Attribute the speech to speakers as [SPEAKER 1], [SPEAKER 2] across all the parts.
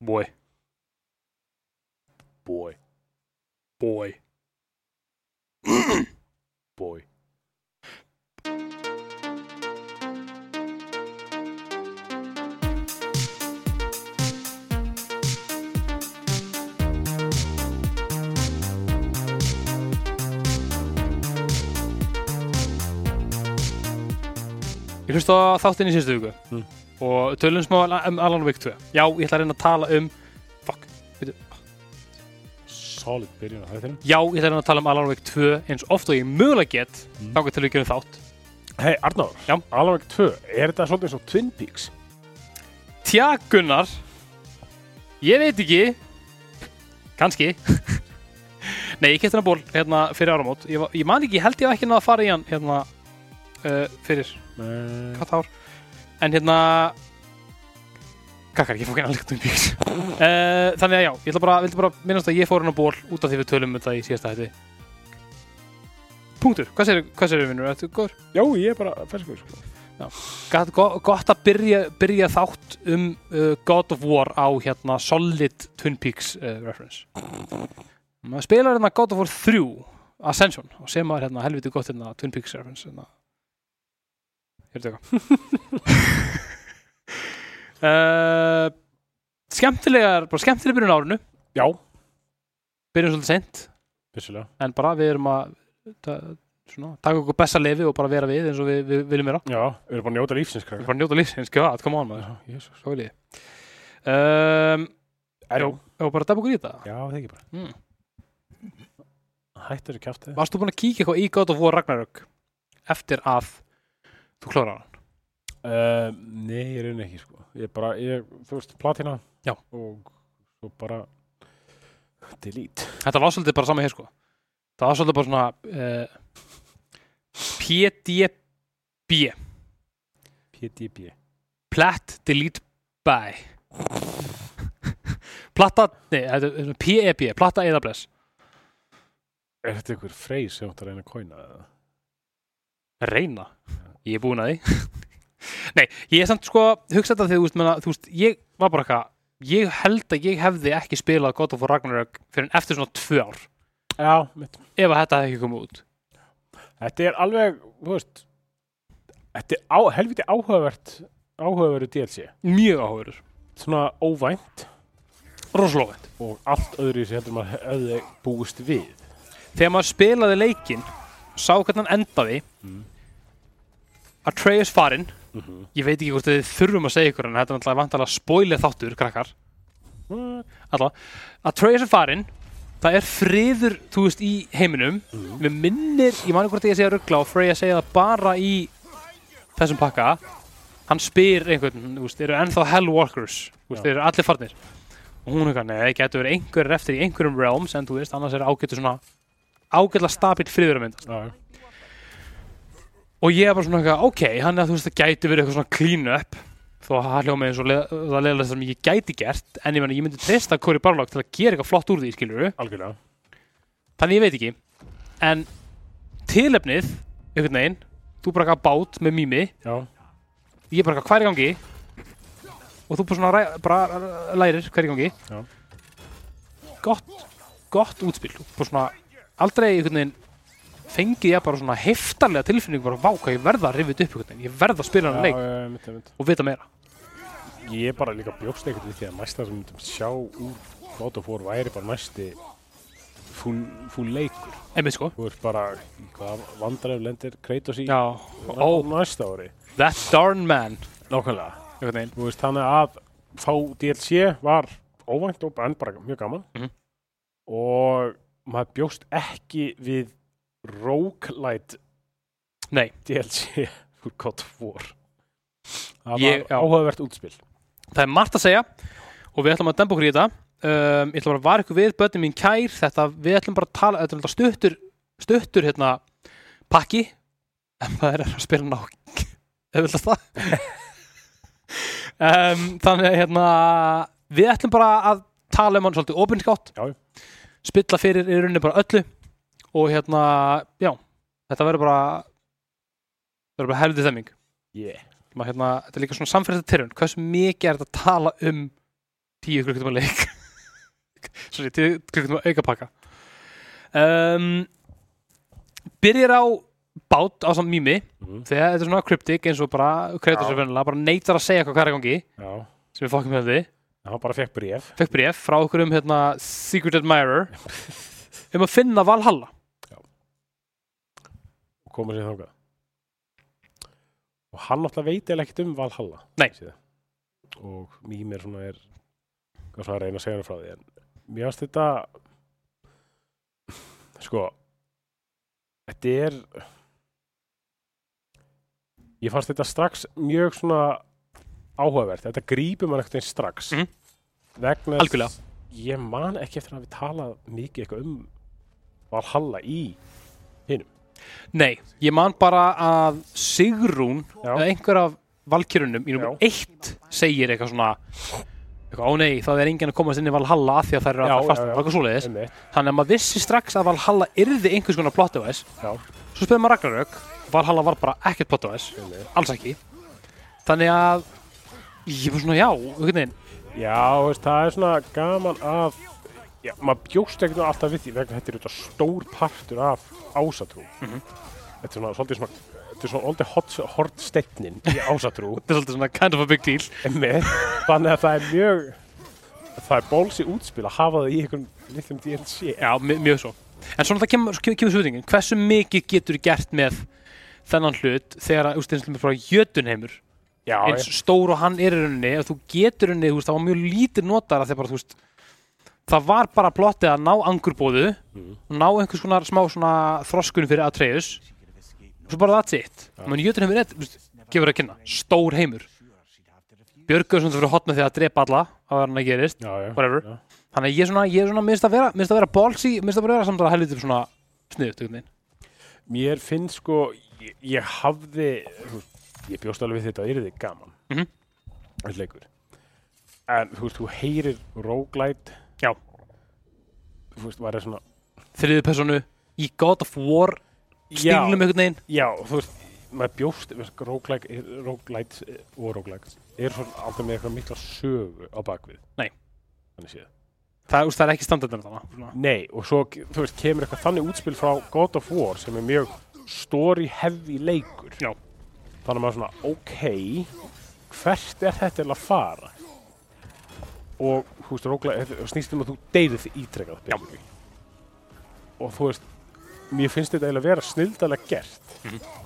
[SPEAKER 1] Boy. Boy. Boy. Boy. Ég hlusta á þáttinn í síðustu viku
[SPEAKER 2] Mm.
[SPEAKER 1] og tölum smá al- um Alan Wake 2. Já, ég ætla að reyna að tala um Fuck.
[SPEAKER 2] Solid byrjun á þættinum
[SPEAKER 1] Já, ég ætla að reyna að tala um Alan Wake 2 eins oft og ég mögulega get
[SPEAKER 2] Mm.
[SPEAKER 1] mm. þákvæmt til við gerum þátt.
[SPEAKER 2] Hei, Arnáður,
[SPEAKER 1] Já.
[SPEAKER 2] Alan Wake 2, er þetta svolítið eins og Twin Peaks?
[SPEAKER 1] Tja, Gunnar Ég veit ekki kannski Nei, ég kefti hennar ból hérna fyrir áramót Ég, var- ég man ekki, ég held ég hafi ekki náð að fara í hann hérna uh, fyrir
[SPEAKER 2] Nei.
[SPEAKER 1] Eh, hvað ár En hérna Kakkar, ég fór ekki náttúrulega um bíks uh, Þannig að já, ég ætla bara, vildi bara minnast að ég fór hennar ból út af því við tölum um þetta í síðasta hætti Punktur, hvað segir, hvað segir við vinnur? Þetta er góður
[SPEAKER 2] Já, ég er bara ferskur sko.
[SPEAKER 1] Gat, go- gott að byrja, byrja þátt um uh, God of War á hérna solid Twin Peaks uh, reference maður spilar hérna God of War 3 Ascension og sem maður hérna helviti gott hérna Twin Peaks reference hérna. er þetta eitthvað uh, skemmtilegar bara skemmtileg byrjun á árinu
[SPEAKER 2] Já,
[SPEAKER 1] byrjun svolítið seint
[SPEAKER 2] vissulega
[SPEAKER 1] en bara við erum að ta, svona, taka okkur besta lefi og bara vera við eins og við, við viljum vera
[SPEAKER 2] Já, við erum bara að njóta lífsins
[SPEAKER 1] við
[SPEAKER 2] krakkar.
[SPEAKER 1] erum bara að njóta lífsins, gæða, koma á maður
[SPEAKER 2] Já, Jesus
[SPEAKER 1] Svo vil ég um,
[SPEAKER 2] Er,
[SPEAKER 1] Jó, ég var bara að dabba okkur í þetta
[SPEAKER 2] Já, það ekki bara
[SPEAKER 1] mm.
[SPEAKER 2] Hættur í kjátti
[SPEAKER 1] Varst þú búin að kíkja eitthvað í God of War Ragnarök eftir að þú klárar hann?
[SPEAKER 2] Uh, nei, ég reyni ekki sko Ég bara, ég, þú veist, platina
[SPEAKER 1] Já.
[SPEAKER 2] Og svo bara Delete
[SPEAKER 1] Þetta var svolítið bara saman hér sko Það var svolítið bara svona uh, PDB
[SPEAKER 2] PDB
[SPEAKER 1] Plat Delete By Platta, nei, þetta er svona PEB Platta eða bless
[SPEAKER 2] Er þetta einhver freys sem þetta reyna að kóina eða?
[SPEAKER 1] reyna ég er búin að því nei, ég er samt sko hugsa þetta þegar þú veist, menna, þú veist, ég var bara eitthvað ég held að ég hefði ekki spilað God of War Ragnarök fyrir en eftir svona tvö ár
[SPEAKER 2] Já, mitt
[SPEAKER 1] ef að þetta hefði ekki komið út
[SPEAKER 2] Þetta er alveg, þú veist Þetta er á, helviti áhugavert Áhugaveru DLC
[SPEAKER 1] mjög áhugur,
[SPEAKER 2] Svona óvænt
[SPEAKER 1] rosalofend
[SPEAKER 2] og allt öðru sem heldur maður hefði búist við
[SPEAKER 1] þegar maður spilaði leikinn sá hvernig hann endaði
[SPEAKER 2] Mm.
[SPEAKER 1] Atreus farinn
[SPEAKER 2] mm -hmm.
[SPEAKER 1] ég veit ekki hvort þið þurfum að segja ykkur en þetta er náttúrulega vantalega spoiler þáttur krakkar
[SPEAKER 2] Mm.
[SPEAKER 1] Alla. Atreus er farinn það er friður, þú veist, í heiminum
[SPEAKER 2] Mhm.
[SPEAKER 1] við minnir, ég mani hvort ég segja ruggla og Freyja segja það bara í þessum pakka hann spyr einhvern, þú veist, eru ennþá Hellwalkers þú
[SPEAKER 2] Já.
[SPEAKER 1] veist, þeir eru allir farnir og hún hefði, nei, getur verið einhverjir eftir í einhverjum realms, en þú veist, annars er ágættu svona ágætla stabilt friður að mynda
[SPEAKER 2] Já,
[SPEAKER 1] og ég er bara svona eitthvað, ok, hann er að þú veist það gæti verið eitthvað svona clean up þó að það hljóma eins og leið- það leðilega sem ég gæti gert en ég, meni, ég myndi treysta Kori Barlog til að gera eitthvað flott úr því, skilur
[SPEAKER 2] algjörlega
[SPEAKER 1] þannig ég veit ekki en tilefnið, einhvern veginn þú bara eitthvað bát með mými
[SPEAKER 2] Já,
[SPEAKER 1] ég bara eitthvað hverja gangi og þú bara svona ræ, bara uh, lærir hverja gangi
[SPEAKER 2] Já.
[SPEAKER 1] gott, gott útspil og bara svona aldrei einhvern veginn fengið ég bara svona heftarlega tilfinningu bara vá hvað ég verða að rifið upp einhvern veginn ég verða að spila hann leik
[SPEAKER 2] já, mitt, mitt
[SPEAKER 1] og vita meira
[SPEAKER 2] Ég bara líka bjókst ekkert við því að næsta sem við myndum sjá úr God of War væri bara næsti fúl, fúl leikur.
[SPEAKER 1] einmitt sko
[SPEAKER 2] Þú ert bara, hvað vandræður lendir Kratos í
[SPEAKER 1] já,
[SPEAKER 2] á
[SPEAKER 1] oh,
[SPEAKER 2] næsta ári.
[SPEAKER 1] that darn man
[SPEAKER 2] Nákvæmlega.
[SPEAKER 1] einhvern veginn
[SPEAKER 2] Þú veist, þannig að fá DLC var óvænt og en bara mjög gaman.
[SPEAKER 1] Mhm.
[SPEAKER 2] Og maður bjóst ekki við roguelite
[SPEAKER 1] Nei.
[SPEAKER 2] DLC úr God of War. Það
[SPEAKER 1] Ég- já.
[SPEAKER 2] var áhugavert útspil.
[SPEAKER 1] það er margt að segja og við ætlum að dempa okkur í þetta um, ég ætlum bara að vara ykkur við, börnum mín kær þetta, við ætlum bara að tala, þetta er náttúrulega stuttur stuttur hérna pakki en maður er að spila ná auðvitað það um, þannig að hérna við ætlum bara að tala um hann svolítið opinskátt
[SPEAKER 2] Já.
[SPEAKER 1] spilla fyrir í rauninni bara öllu og hérna, já þetta verður bara verður bara helviti þemming
[SPEAKER 2] Yeah.
[SPEAKER 1] maður hérna, þetta er líka svona samferðið tilhörn, hversu mikið er þetta að tala um tíu klukkutum að leik Sorry, tíu klukkutum að auka pakka um, Byrjar á bát á samt mými
[SPEAKER 2] Mhm.
[SPEAKER 1] þegar þetta er svona kryptik eins og bara kreatur
[SPEAKER 2] Já.
[SPEAKER 1] sér vennilega, bara neitar að segja hvað hvað er í gangi
[SPEAKER 2] Já,
[SPEAKER 1] sem við fokkum hefði
[SPEAKER 2] en hann bara fekk bréf
[SPEAKER 1] fekk bréf frá okkur um hérna, Secret Admirer um að finna Valhalla
[SPEAKER 2] og koma sér þangað og hann náttúrulega veit eða ekkert um Valhalla
[SPEAKER 1] Nei.
[SPEAKER 2] Séð. og mýmir svona er hvað svona að reyna að segja hann frá því en mér finnst þetta sko þetta er ég fannst þetta strax mjög svona áhugavert þetta grípur mann ekkert einn strax
[SPEAKER 1] Mhm.
[SPEAKER 2] vegna þess-
[SPEAKER 1] Algjörlega.
[SPEAKER 2] ég man ekki eftir að við talað mikið eitthvað um Valhalla í
[SPEAKER 1] Nei, ég man bara að Sigrún,
[SPEAKER 2] Já.
[SPEAKER 1] eða einhver af valkyrunum í nummer
[SPEAKER 2] Já.
[SPEAKER 1] eitt segir eitthvað svona eitthvað, ó nei, það er enginn að komast inn í Valhalla af því að það eru
[SPEAKER 2] Já,
[SPEAKER 1] að fasta
[SPEAKER 2] já, já.
[SPEAKER 1] eitthvað svoleiðis
[SPEAKER 2] um
[SPEAKER 1] þannig að maður vissi strax að Valhalla yrði einhvers konar plot device
[SPEAKER 2] já,
[SPEAKER 1] svo spyrir maður Ragnarök, Valhalla var bara ekkert plot device,
[SPEAKER 2] um
[SPEAKER 1] alls ekki þannig að ég var svona já, einhvern veginn
[SPEAKER 2] Já, veist, það er svona gaman að já, maður bjóst ekkert alltaf við því vegna þetta er auðvitað stór partur af ásatrú Þetta er svona svolítið svona þetta er svona svolítið hortsteinnin í ásatrú
[SPEAKER 1] þetta er svolítið svona kind of a big deal
[SPEAKER 2] emmi, þannig að það er mjög það er bóls í útspil að hafa það í einhvern litlum DNC
[SPEAKER 1] Já, mi- mjög svo. En svona það kemur, kemur, kemur svöðingin, hversu mikið getur gert með þennan hlut þegar að, úst, eins og frá jötunheimur,
[SPEAKER 2] Já,
[SPEAKER 1] eins stór og hann er í rauninni, ef þú getur rauninni, þú veist, það var mjög lítið notar að þeir bara, þú veist, það var bara plottið að ná angurbóðu,
[SPEAKER 2] Mhm.
[SPEAKER 1] ná einhvers konar smá svona þroskun fyrir Atreus, og svo bara that's it. Ja. Men jötunheimur er, þú veist, gefur að kynna, stór heimur. Björgur sem þú fyrir hot með því að drepa alla, að vera hann að gerist
[SPEAKER 2] já, já,
[SPEAKER 1] whatever.
[SPEAKER 2] já.
[SPEAKER 1] þannig að ég er svona, ég er svona minnst að vera, minnst að vera ballsy, minnst að bara vera samt að helviti svona sniðut, einhvern veginn.
[SPEAKER 2] Mér finnst sko, ég, ég hafði, þú veist, ég bjóst alveg við þetta að yrði gaman.
[SPEAKER 1] Mhm.
[SPEAKER 2] Þessi leikur. En þú veist, þú heyrir roguelite.
[SPEAKER 1] Já.
[SPEAKER 2] Þú veist, var það svona.
[SPEAKER 1] Þriðu personu í God of War stílum
[SPEAKER 2] Já,
[SPEAKER 1] einhvern veginn.
[SPEAKER 2] já, þú veist, maður bjóst, þú veist, roguelite, er- roguelite eh, og roguelite er svona aldrei með eitthvað mikla sögu á bakvið.
[SPEAKER 1] Nei.
[SPEAKER 2] Þannig séð.
[SPEAKER 1] Það, úst, það er ekki standardin þarna.
[SPEAKER 2] Nei, og svo, þú veist, kemur eitthvað þannig útspil frá God of War sem er mjög story heavy leikur.
[SPEAKER 1] Já.
[SPEAKER 2] þannig að maður svona, ok hvert er þetta eiginlega að fara og þú veist, róglega, þetta snýst um að þú deyðið ítrekkað basically. og þú veist, mér finnst þetta eiginlega vera snildalega gert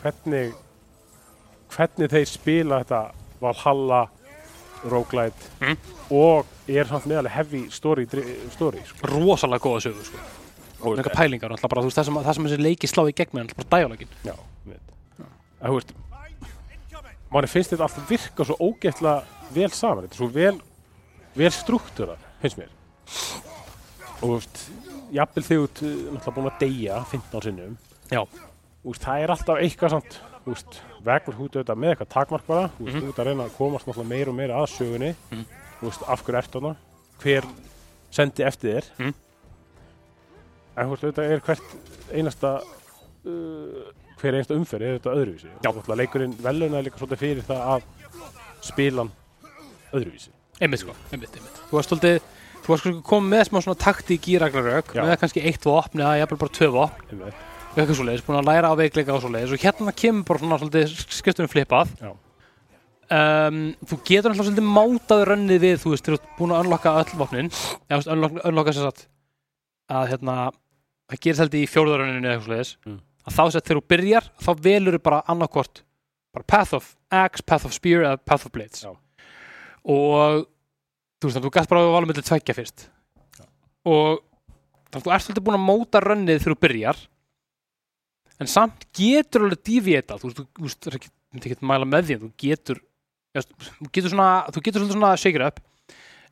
[SPEAKER 2] hvernig hvernig þeir spila þetta Valhalla, Roguelite
[SPEAKER 1] Mhm.
[SPEAKER 2] og er samt meðalega heavy story, dri- story sko.
[SPEAKER 1] Rosalega góða sögur, sko.
[SPEAKER 2] og,
[SPEAKER 1] Nekka pælingar, alltaf bara, þú veist, það sem, það sem þessi leiki slá í gegn með, alltaf bara dæjuleikin.
[SPEAKER 2] Já, veit. En þú veist, manni finnst þetta alltaf virka svo ógeðslega vel saman, þetta er svo vel, vel struktúra, finnst mér. Og þú veist, jafnvel þegar þú ert uh, náttúrulega búin að deyja 15 sinnum,
[SPEAKER 1] Já.
[SPEAKER 2] þú veist, það er alltaf eitthvað samt, þú veist, vegur hútu auðvitað með eitthvað takmark bara, þú veist, þú ert að reyna að komast náttúrulega meira og meira að sögunni, þú veist, af hverju ertu þarna, hver sendi eftir þér,
[SPEAKER 1] Mhm.
[SPEAKER 2] en þú veist, auðvitað er hvert einasta, uh, hver einasta umferð er auðvitað öðruvísi. Já. Náttúrulega leikurinn velunar líka svolítið fyrir það að spilan öðruvísi.
[SPEAKER 1] Einmitt, sko. Einmitt, einmitt. Þú varst svolítið, þú varst sko komið með smá svona taktík í ragnarök,
[SPEAKER 2] Já.
[SPEAKER 1] með kannski eitt vopn eða jafnvel bara tvö vopn,
[SPEAKER 2] einmitt.
[SPEAKER 1] eitthvað svoleiðis, búin að læra á veikleika og svoleiðis og hérna kemur bara svona svolítið skiptum flipað
[SPEAKER 2] Já.
[SPEAKER 1] um, þú getur alltaf svolítið mátað rönnið við þú veist, þú ert búin að unlocka öll vopnin eða þú veist, unlock- unlocka sér satt að hérna, það gerist held í fjórðarönninu eða eitthvað svoleiðis
[SPEAKER 2] Mm.
[SPEAKER 1] að þá sett þegar þú byrjar, þá velur bara annarkvort, bara path of axe, path of spear eða path of blades
[SPEAKER 2] Já.
[SPEAKER 1] og þú veist, þú gætt bara að valum millir tveggja fyrst og þannig að þú ert svolítið búin að móta rönnið þegar þú byrjar en samt getur alveg díféta þú veist, þú- þú veist, það er ekki, myndi ekki mæla með því en þú getur já, þú getur svona, þú getur svolítið svona shake it up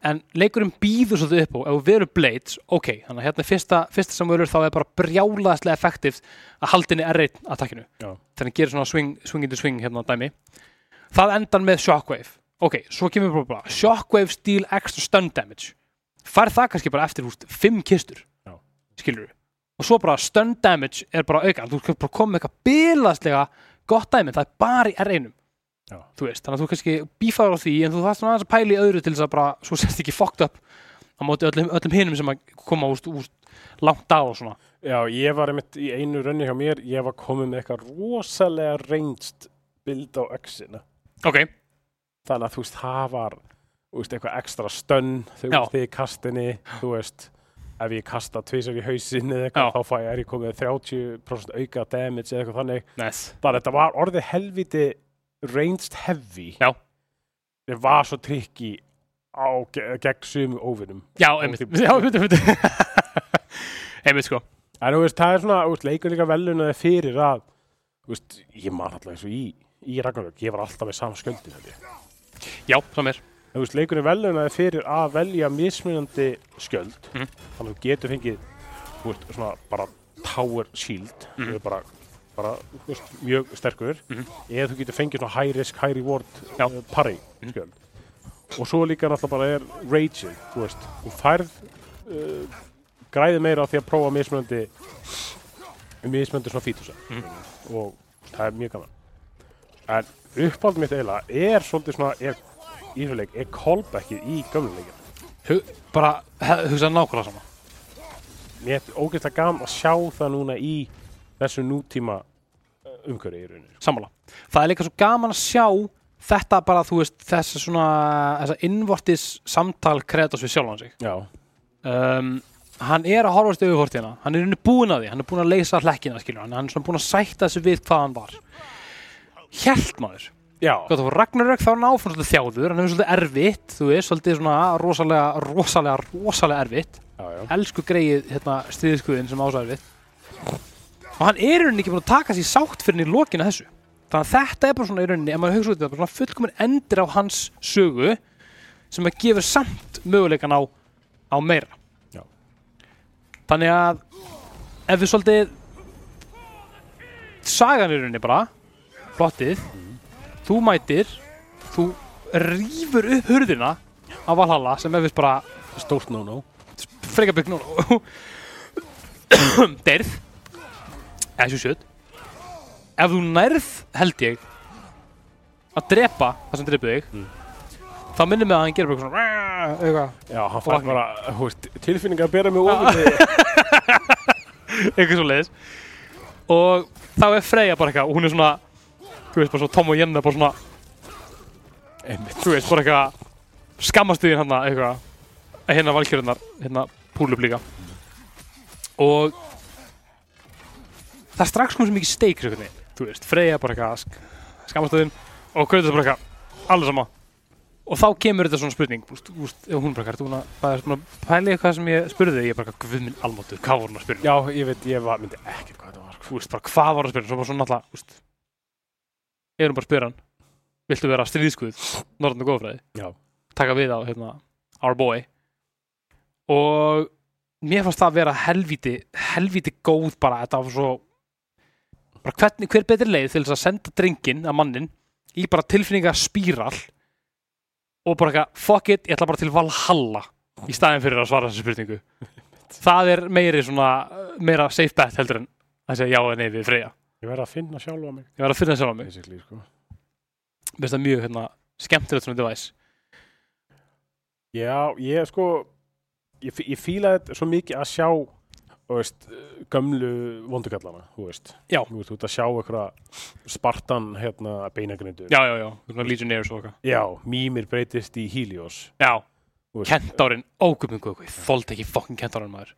[SPEAKER 1] en leikurinn býður svolítið upp á ef þú verður blades, ok, þannig að hérna er fyrsta, fyrsta sem verður þá er bara brjálaðslega effektivt að haldinni R1 attackinu
[SPEAKER 2] Já.
[SPEAKER 1] þannig að gera svona swing, swing into swing hérna dæmi, það endar með shockwave ok, svo kemur bara, bara shockwave steal extra stun damage fær það kannski bara eftir úst, fimm kistur
[SPEAKER 2] Já.
[SPEAKER 1] skilur og svo bara stun damage er bara auka þú er bara komið með eitthvað bilaslega gott dæmi, það er bara í R1
[SPEAKER 2] Já. Já.
[SPEAKER 1] þú veist, þannig að þú kannski bífaður á því en þú þarfst svona aðeins að pæla í öðru til þess að bara, svo sérst ekki fucked up á móti öllum, öllum hinum sem að koma úst, úst langt að og svona
[SPEAKER 2] Já, ég var einmitt í einu rönni hjá mér, ég var komið með eitthvað rosalega reynst bild á öxina.
[SPEAKER 1] ok,
[SPEAKER 2] Þannig að þú veist, það var þú veist, eitthvað ekstra stönn
[SPEAKER 1] Já.
[SPEAKER 2] þegar þið kastinni, þú veist, ef ég kasta tvisar í hausinni eða
[SPEAKER 1] Já.
[SPEAKER 2] eitthvað, þá fæ ég er ég komið með 30% auka damage eða eitthvað þannig.
[SPEAKER 1] nice
[SPEAKER 2] Þannig að þetta var orðið helviti reynst heavy.
[SPEAKER 1] Já.
[SPEAKER 2] Þetta var svo trikki á, ge- gegn sumu óvinnum.
[SPEAKER 1] já, einmitt,
[SPEAKER 2] því-
[SPEAKER 1] já, einmitt, einmitt einmitt sko,
[SPEAKER 2] En þú veist, það er svona, þú veist, leikur líka velunaði fyrir að, þú veist, ég man alltaf eins og í, í Ragnarök, ég var alltaf með sama skjöldin held ég.
[SPEAKER 1] já, samir
[SPEAKER 2] En þú veist, leikurinn velunaði fyrir að velja mismunandi skjöld,
[SPEAKER 1] Mhm.
[SPEAKER 2] þannig að þú getur fengið, þú veist, svona bara tower shield, mm. þú er bara, bara, þú veist, mjög sterkur,
[SPEAKER 1] Mhm.
[SPEAKER 2] eða þú getur fengið svona high risk, high reward
[SPEAKER 1] Já. Mhm.
[SPEAKER 2] uh, parry skjöld. Og svo líka náttúrulega bara er raging, þú veist, þú færð, uh, græði meira á því að prófa mismunandi mismunandi svona fítusa
[SPEAKER 1] Mhm.
[SPEAKER 2] og það er mjög gaman en uppáld mitt eiginlega er svolítið svona er, í þessu leik er callbackið í gömluleikin
[SPEAKER 1] Hu, bara, he- hugsa nákvæmlega sama
[SPEAKER 2] mér er ógeðslega gaman að sjá það núna í þessu nútíma umhverju í sko. rauninu
[SPEAKER 1] sammála. Það er líka svo gaman að sjá þetta bara, þú veist, þessi svona þessa innvortis samtal kredos við sjálfan sig.
[SPEAKER 2] já,
[SPEAKER 1] Um, hann er að horfast yfirvortina, hann er inni búin að því, hann er búin að leysa hlekkina, skilur hann, hann er svona búin að sætta þessu við hvað hann var. Hjælt maður.
[SPEAKER 2] já,
[SPEAKER 1] Hvað það var Ragnarök þá er hann áfram svolítið þjáður, hann hefur svolítið erfitt, þú veist, svolítið svona rosalega, rosalega, rosalega erfitt.
[SPEAKER 2] já, já.
[SPEAKER 1] Elsku greið, hérna, stríðiskuðin sem ásæður við. Og hann er í rauninni ekki búin að taka sér sátt fyrir henni í lokinu þessu. Þannig að þetta er bara svona í rauninni, ef maður hugsa út í þetta, bara svona fullkomin endir á hans sögu sem að gefur samt möguleikan á, á meira.
[SPEAKER 2] Já.
[SPEAKER 1] Þannig að ef við svolítið sagan í rauninni bara, plottið,
[SPEAKER 2] Mhm.
[SPEAKER 1] þú mætir, þú rýfur upp hurðina á Valhalla sem ef við bara
[SPEAKER 2] stórt no-no
[SPEAKER 1] frekar bygg núna Deyrð Eða svo sjöt Ef þú nærð held ég að drepa það sem drepa þig þá minnir mig að hann gerir bara eitthvað svona eitthvað,
[SPEAKER 2] já, hann
[SPEAKER 1] Fuck
[SPEAKER 2] fær
[SPEAKER 1] me.
[SPEAKER 2] bara, hú veist, tilfinninga að bera mig ofið
[SPEAKER 1] eitthvað svo leiðis og þá er Freyja bara eitthvað og hún er svona þú veist bara svo Tom og Jenna bara svona
[SPEAKER 2] einmitt,
[SPEAKER 1] þú veist bara eitthvað skammast þig hann eitthvað að hérna valkjörðunar hérna púlup líka og það er strax komið svo mikið steik einhvern veginn. þú veist, Freyja bara eitthvað sk skamastöðin og Kautas bara eitthvað allir sama og þá kemur þetta svona spurning úst, úst, og hún bara eitthvað, "Ertu búin að- það er svona pæli eitthvað sem ég spurði þig?" ég bara eitthvað, guð minn almáttur, hvað voru hún að spyrja mig?"
[SPEAKER 2] já, ég veit, ég var, myndi ekkert hvað þetta var sko.
[SPEAKER 1] þú veist, bara hvað var hún að spyrja mig? svo bara svona náttúrulega, þú veist ég erum bara að spyrja hann viltu vera stríðskuð, norðan og góðfræði
[SPEAKER 2] já,
[SPEAKER 1] taka við á hérna, Our Boy og mér fannst það að vera helvíti helvíti góð bara þetta var svo bara hvern, hver betri leið til þess að senda drengin að mannin í bara tilfinninga spíral og bara eitthvað fuck it, ég ætla bara til Valhalla í staðin fyrir að svara þessu spurningu það er meiri svona uh, meira safe bet heldur en að segja já eða nei við Freyja
[SPEAKER 2] ég verð að finna sjálfa mig
[SPEAKER 1] ég var að finna sjálf á mig
[SPEAKER 2] basically, sko
[SPEAKER 1] mér finnst það mjög hérna, skemmtilegt svona device
[SPEAKER 2] Já, ég sko ég, fí- ég fílaði þetta svo mikið að sjá þú veist, gömlu vondukallana, þú veist
[SPEAKER 1] Já.
[SPEAKER 2] Þú veist, þú ert að sjá eitthvað Spartan hérna beinagrindur
[SPEAKER 1] já, já, já, svona Legionnaires og okkar
[SPEAKER 2] Já, Mímir breytist í Helios
[SPEAKER 1] já,
[SPEAKER 2] þú veist,
[SPEAKER 1] Kentárin, ógumum guðkvið, þóldi ekki fokkin kentárin maður.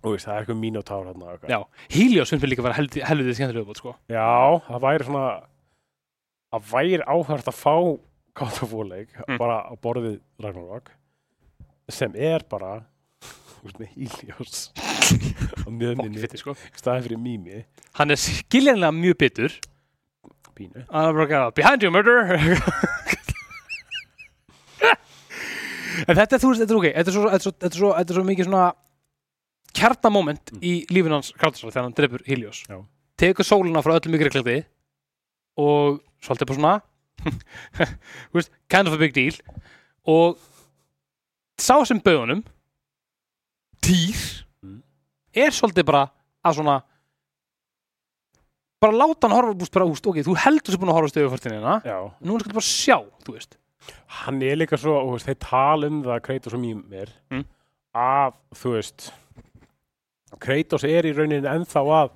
[SPEAKER 2] þú veist, það er eitthvað mínotár hérna og eitthvað.
[SPEAKER 1] Já, Helios finnst mér líka að vera helviti, helviti skemmtilega bótt, sko.
[SPEAKER 2] Já, það væri svona það væri áhört að fá God of War leik,
[SPEAKER 1] Mm.
[SPEAKER 2] bara á borðið Ragnarok sem er bara þú veist, með Helios á
[SPEAKER 1] Fokkin
[SPEAKER 2] miðminni,
[SPEAKER 1] fytti, sko.
[SPEAKER 2] staðið fyrir Mími
[SPEAKER 1] Hann er skiljanlega mjög bitur.
[SPEAKER 2] Pínu
[SPEAKER 1] Hann er bara ekki að, Uh, behind you murder! en þetta, er, þú veist, þetta er ok. Þetta er svo, þetta er svo, þetta er svo, þetta er svo mikið svona kjarnamoment
[SPEAKER 2] Mm.
[SPEAKER 1] í lífin hans Kratusar þegar hann drefur Helios.
[SPEAKER 2] Já.
[SPEAKER 1] Tekur sólina frá öllum ykkur ekklandi og svolítið bara svona þú veist, kind of a big deal og sá sem bauðunum týr
[SPEAKER 2] Mm.
[SPEAKER 1] er svolítið bara að svona bara láta hann horfa, þú veist, bara, úst, ok, þú heldur sér búin að horfa stöðufortinina,
[SPEAKER 2] Já,
[SPEAKER 1] núna skal bara sjá, þú veist.
[SPEAKER 2] hann er líka svo, þú veist, þeir tala um það að Kratos og Mímir
[SPEAKER 1] Mm.
[SPEAKER 2] að, þú veist Kratos er í rauninni ennþá að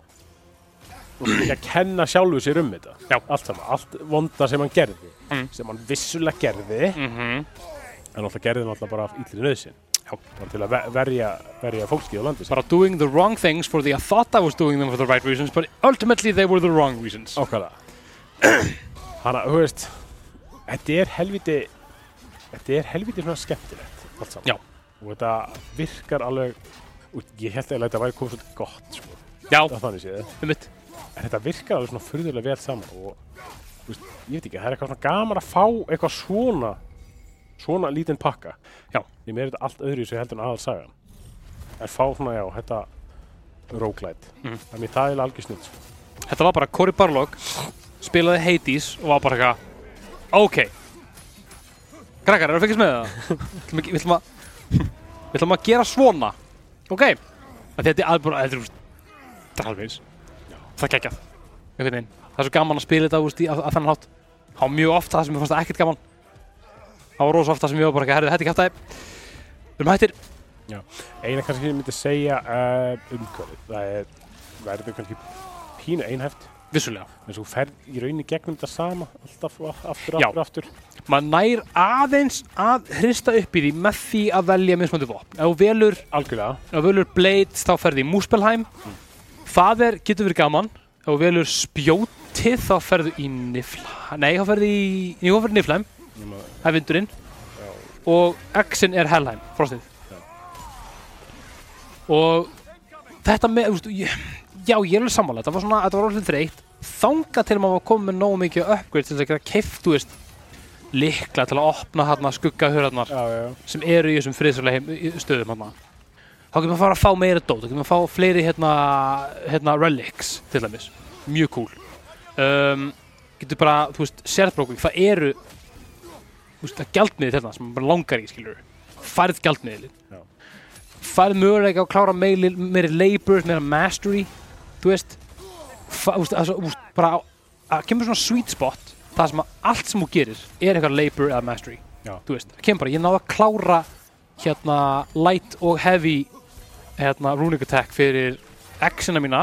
[SPEAKER 2] þú veist, ekki að kenna sjálfu sér um þetta
[SPEAKER 1] Já.
[SPEAKER 2] allt saman, allt vonda sem hann gerði
[SPEAKER 1] Mm.
[SPEAKER 2] sem hann vissulega gerði
[SPEAKER 1] Mm -hmm.
[SPEAKER 2] en alltaf gerði hann alltaf bara af illri nöðsin
[SPEAKER 1] Já.
[SPEAKER 2] bara til að ve- verja, verja fólkið á landi
[SPEAKER 1] Bara doing the wrong things for the, I thought I was doing them for the right reasons, but ultimately they were the wrong reasons.
[SPEAKER 2] Ákvæða Hanna, þú veist Þetta er helviti Þetta er helviti svona skemmtilegt allt saman
[SPEAKER 1] Já.
[SPEAKER 2] Og þetta virkar alveg og Ég held eiginlega að þetta væri komið svolítið gott sko,
[SPEAKER 1] Já,
[SPEAKER 2] að þannig séð
[SPEAKER 1] um mitt.
[SPEAKER 2] En þetta virkar alveg svona furðulega vel saman og þú veist, ég veit ekki, það er eitthvað svona gaman að fá eitthvað svona svona lítinn pakka
[SPEAKER 1] Já.
[SPEAKER 2] Því mér er þetta allt öðru í sig heldur en aðal sagan En fá svona, já, þetta róklætt
[SPEAKER 1] Mhm.
[SPEAKER 2] Það er mér það er algjör snill sko.
[SPEAKER 1] Þetta var bara Cory Barlog, spilaði Hades og var bara eitthvað, ok. Krakkar, eru að fylgjast með það? Ætlum ekki- Við ætlum að, við ætlum að gera svona, ok? Af því Þetta er alveg bara, þetta er, þú veist, þetta er alveg eins. Það er geggjað, einhvern veginn. Það er svo gaman að spila þetta, þú veist, í- að, að þennan hátt. Það var mjög ofta það sem ég fannst það ekkert gaman. Það var rosa ofta sem ég var bara eitthvað, herðu, þetta er kæftæði. Við erum hættir,
[SPEAKER 2] eina kannski sem ég myndi segja uh, umhverfið, það er verður kannski pínu einhæft
[SPEAKER 1] vissulega.
[SPEAKER 2] en þú ferð í rauninni gegnum þetta sama alltaf og aftur,
[SPEAKER 1] Já.
[SPEAKER 2] aftur, aftur
[SPEAKER 1] maður nær aðeins að hrista upp í því með því að velja mismandi vopn. Ef þú velur,
[SPEAKER 2] algjörlega,
[SPEAKER 1] ef þú velur Blades þá ferði í Múspelheim. Það er, getur verið gaman. Ef þú velur spjótið þá ferðu í Niflheim. Nei, þá ferðu í, jú, þá ferðu í Niflheim.
[SPEAKER 2] Nema-
[SPEAKER 1] Það er vindurinn. Og X-in er Helheim, frostið.
[SPEAKER 2] Já.
[SPEAKER 1] Og þetta með, úst, ég, já, ég er alveg sammála. Þetta var svona, þetta var alveg þreytt. Þanga til maður var komið með nógu mikið uppgrið til þess að geta keift, þú veist, likla til að opna þarna skuggahörðarnar
[SPEAKER 2] já, já, já.
[SPEAKER 1] sem eru í þessum friðsverlega heim- í- stöðum hérna. þá getur maður að fara að fá meira dót þá getur maður að fá fleiri hérna, hérna relics til dæmis, mjög cool um, getur bara, þú veist, sérðbrókvík, það eru þú veist, það gjaldmiði til sem maður bara langar í, skilur færð
[SPEAKER 2] Já.
[SPEAKER 1] gjaldmiðilin færð möguleika á að klára meiri, meiri labor, meira mastery þú veist, fa, þú veist, að, þú veist bara á- að kemur svona sweet spot það sem að allt sem þú gerir er eitthvað labor eða mastery
[SPEAKER 2] Já.
[SPEAKER 1] þú veist, það kemur bara, ég náði að klára hérna light og heavy hérna runic attack fyrir actiona mína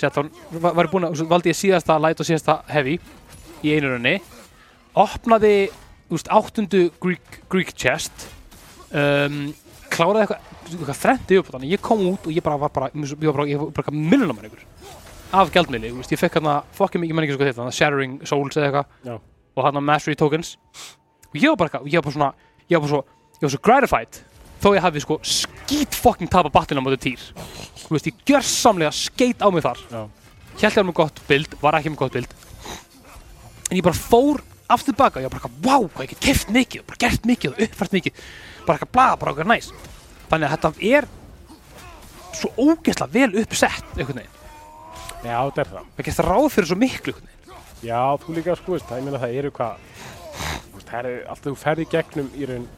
[SPEAKER 1] sett þá var var ég búinn að, svo valdi ég síðasta light og síðasta heavy í einu raunni opnaði, þú veist, áttundu Greek, Greek chest um, kláraði eitthvað eitthvað þrendi upp á þannig, ég kom út og ég bara var bara, ég var bara, ég var bara millunar ykkur af gjaldmiðli, þú veist, ég fekk hérna fokkin mikið menningi svo hvað þetta, þarna hérna, Shattering Souls eða eitthvað
[SPEAKER 2] Já.
[SPEAKER 1] og hérna Mastery Tokens og ég var bara, eitthvað- ég var bara svona ég var bara svo, ég var svo gratified þó ég hafi sko skít fokkin tapa battlina á móti týr, þú veist, ég gjörsamlega skeit á mig þar
[SPEAKER 2] Já.
[SPEAKER 1] held ég var með gott bild, var ekki með gott bild en ég bara fór aftur baka, ég var bara eitthvað, wow, hvað ég get keft mikið bara gert mikið og uppfært mikið bara eitthvað bla, bara eitthvað næs þannig að þetta er svo ógeðslega vel uppsett einhvern veginn,
[SPEAKER 2] já, þetta er það
[SPEAKER 1] það gerst ráð fyrir svo miklu einhvern veginn,
[SPEAKER 2] já, þú líka, sko, veist, það, ég meina það eru hvað þú veist, það eru, alltaf þú ferð í gegnum í raun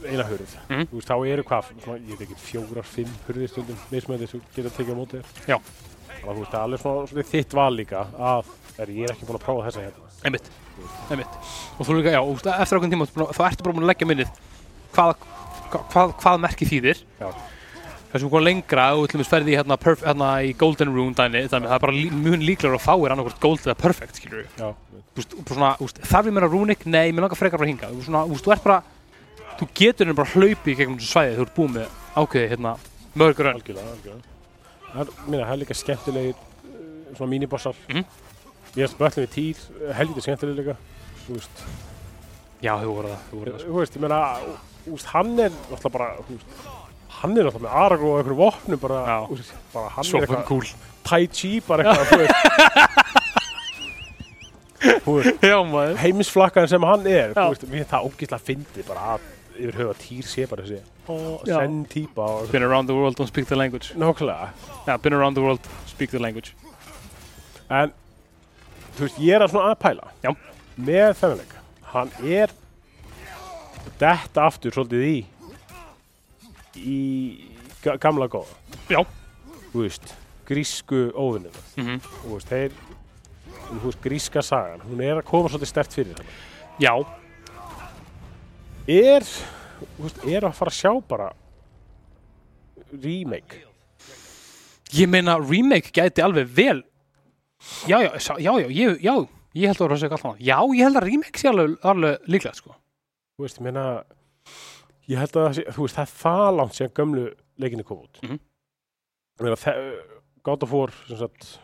[SPEAKER 2] eina hurð,
[SPEAKER 1] Mhm.
[SPEAKER 2] þú veist, þá eru hvað svona, ég veit ekki, fjórar, fimm hurðir stundum mismöðið sem geta tekið á móti þér
[SPEAKER 1] Já.
[SPEAKER 2] þannig að þú veist, það er alveg svona, svona þitt val líka að, er, ég er ekki búin að prófa þessa hérna
[SPEAKER 1] einmitt, einmitt og þú líka, já, og þú- eftir ákveðin tíma ertu búin að- þá ertu bara búin að leggja minnið hvað, hvað, hvað merki þýðir
[SPEAKER 2] Já.
[SPEAKER 1] þessum við komum lengra og til dæmis ferði í, hérna, perf, hérna, í Golden Rune dæmi, dæmi það er bara lí- mun líklegur að fáir annarkvort Gold eða Perfect, skilur við
[SPEAKER 2] já,
[SPEAKER 1] Þú veist, og bara svona, úst, þarf ég meira rúnik? Nei, mér langar frekar að hinga þú, svona, úst, þú ert bara, þú getur henni bara hlaupið í gegnum þessu svæði þú ert búið með ákveði hérna, mörgur önn
[SPEAKER 2] algjörlega, algjörlega. Það er, minna, það er líka skemmtilegir uh, svona mínibossar.
[SPEAKER 1] Mhm.
[SPEAKER 2] Ég er spöllin við týr, uh, helviti skemmtilegir líka. Þú veist, eh,
[SPEAKER 1] já, þú voru það, þú voru það sko.
[SPEAKER 2] þú veist, ég meina, þú veist, hann er náttúrulega bara, þú veist, hann er náttúrulega með arag og einhverjum vopnum bara,
[SPEAKER 1] Já.
[SPEAKER 2] þú veist, bara hann
[SPEAKER 1] svo
[SPEAKER 2] er
[SPEAKER 1] fucking
[SPEAKER 2] eitthvað,
[SPEAKER 1] cool
[SPEAKER 2] tai chi bara eitthvað, þú veist. Þú veist,
[SPEAKER 1] já, maður
[SPEAKER 2] heimisflakkan sem hann er, þú
[SPEAKER 1] Já.
[SPEAKER 2] veist, mér er það ógislega fyndið bara að yfir höfa týr sé bara þessi, ó,
[SPEAKER 1] Já.
[SPEAKER 2] senn típa og
[SPEAKER 1] been around the world, don't speak the language
[SPEAKER 2] nákvæmlega.
[SPEAKER 1] já, been around the world, speak the language
[SPEAKER 2] En, þú veist, ég er að svona að pæla
[SPEAKER 1] Já.
[SPEAKER 2] með þennan leik. Hann er detta aftur svolítið í í ga- gamla góða.
[SPEAKER 1] já,
[SPEAKER 2] Þú veist, grísku óðunina
[SPEAKER 1] Mhm.
[SPEAKER 2] og veist, þeir en þú veist, gríska sagan, hún er að koma svolítið stert fyrir hann
[SPEAKER 1] Já,
[SPEAKER 2] er, þú veist, er að fara að sjá bara remake
[SPEAKER 1] ég meina remake gæti alveg vel Já, já, sá- já, já, ég, já Ég held að það var að segja allt annað Já, ég held að remake sé alveg, alveg líklega sko.
[SPEAKER 2] þú veist, ég meina ég held að það sé, þú veist, það er það langt sem gömlu leikinu kom út
[SPEAKER 1] Mhm.
[SPEAKER 2] ég meina, það, God of War sem sagt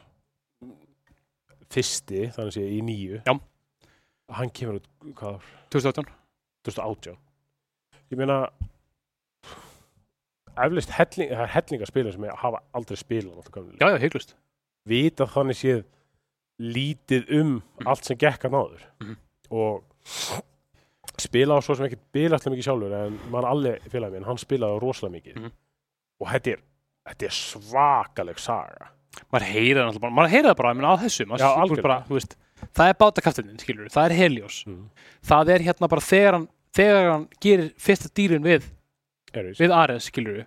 [SPEAKER 2] fyrsti, þannig sé, í nýju
[SPEAKER 1] Já.
[SPEAKER 2] hann kemur út, hvað,
[SPEAKER 1] 2018
[SPEAKER 2] 2018 ég meina eflist helling, það er hellingarspilar sem hafa aldrei spilað alltaf gömlu leikina.
[SPEAKER 1] Já, já, heiklust
[SPEAKER 2] vita þannig séð lítið um allt sem gekk að náður
[SPEAKER 1] Mhm.
[SPEAKER 2] og spila á svo sem ekkert bilaslega mikið sjálfur en maður allir félagi minn, hann spilaði á rosalega mikið
[SPEAKER 1] Mhm.
[SPEAKER 2] og þetta er, þetta er svakaleg saga
[SPEAKER 1] Maður heyrir það náttúrulega bara Maður heyrir það bara, ég meina á þessu maður,
[SPEAKER 2] Já,
[SPEAKER 1] þú ert
[SPEAKER 2] algjörlega.
[SPEAKER 1] bara, þú veist, Það er bátakaftininn, skilur Það er Helios Það er hérna bara þegar hann, þegar hann gerir fyrsta dýrin við
[SPEAKER 2] Ares.
[SPEAKER 1] við Ares, skilur við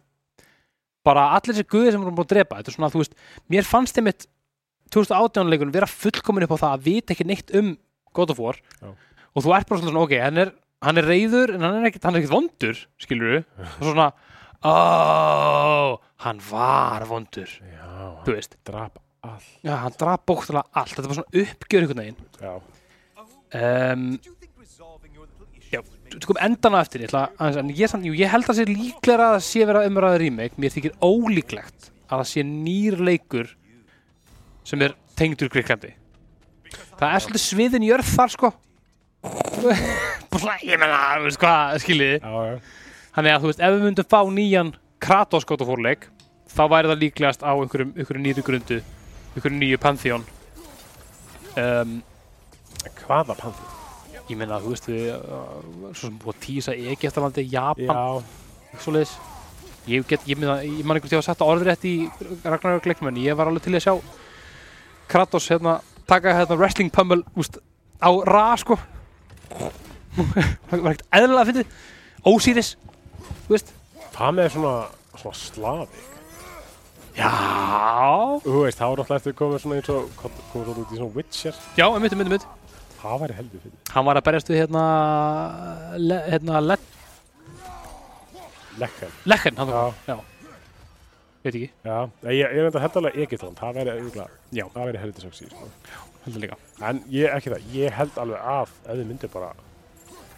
[SPEAKER 1] bara allir þessi guðir sem vorum búin að drepa þetta er svona, þú veist, mér fannst þeim mitt 2018 leikunum vera fullkomin upp á það að vita ekki neitt um God of War
[SPEAKER 2] Já.
[SPEAKER 1] og þú ert bara svona, ok, hann er hann er reyður, en hann er ekkit, hann er ekkit vondur skilur við, og svona ó, hann var vondur,
[SPEAKER 2] Já,
[SPEAKER 1] þú veist
[SPEAKER 2] drap all
[SPEAKER 1] já, hann draf bókstala allt, þetta er bara svona uppgjör einhvern veginn
[SPEAKER 2] Já,
[SPEAKER 1] um, já, tökum endan á eftir ég ætla, aðeins, en ég, samt, jú, ég held að það sé líklega að það sé vera umræða remake mér þykir ólíklegt að það sé nýr leikur sem er tengdur Gríklandi það er svolítið sviðin jörð þar sko Bara svona, ég meina, þú veist hvað skiljiði
[SPEAKER 2] já, já
[SPEAKER 1] þannig að þú veist, ef við myndum fá nýjan Kratos God of War leik þá væri það líklegast á einhverjum, einhverjum nýju grundu einhverjum nýju Pantheon um,
[SPEAKER 2] En Hvaða pandur?
[SPEAKER 1] Ég meina, þú veist, við uh, svo sem búið að tísa í Egyptalandi, Japan,
[SPEAKER 2] Já,
[SPEAKER 1] svo leiðis. Ég, get, ég, meina, ég man einhvern tíu að setja orðrétt í Ragnarök leiknum, en ég var alveg til í að sjá Kratos hérna, taka hérna wrestling pummel úst, á ra, sko. Það var ekkert eðlilega að fyndið. Ósýris, þú veist.
[SPEAKER 2] hvað með svona, svona slavi?
[SPEAKER 1] Já.
[SPEAKER 2] Þú veist, þá er alltaf eftir komið svona eins og komið svona út í svona Witcher
[SPEAKER 1] Já, einmitt, einmitt, einmitt.
[SPEAKER 2] Það væri heldur fyrir
[SPEAKER 1] Hann var að berjast við hérna, le, hérna, le,
[SPEAKER 2] Lekkan
[SPEAKER 1] lekken, hann
[SPEAKER 2] Já.
[SPEAKER 1] þá. Já. Veit ekki.
[SPEAKER 2] Já, nei, ég, ég er enda hendalega Egyptaland, það væri auðvitað,
[SPEAKER 1] Já.
[SPEAKER 2] það væri heldur sexy, sko.
[SPEAKER 1] Heldur líka.
[SPEAKER 2] En ég, ekki það, ég held alveg að ef þið myndir bara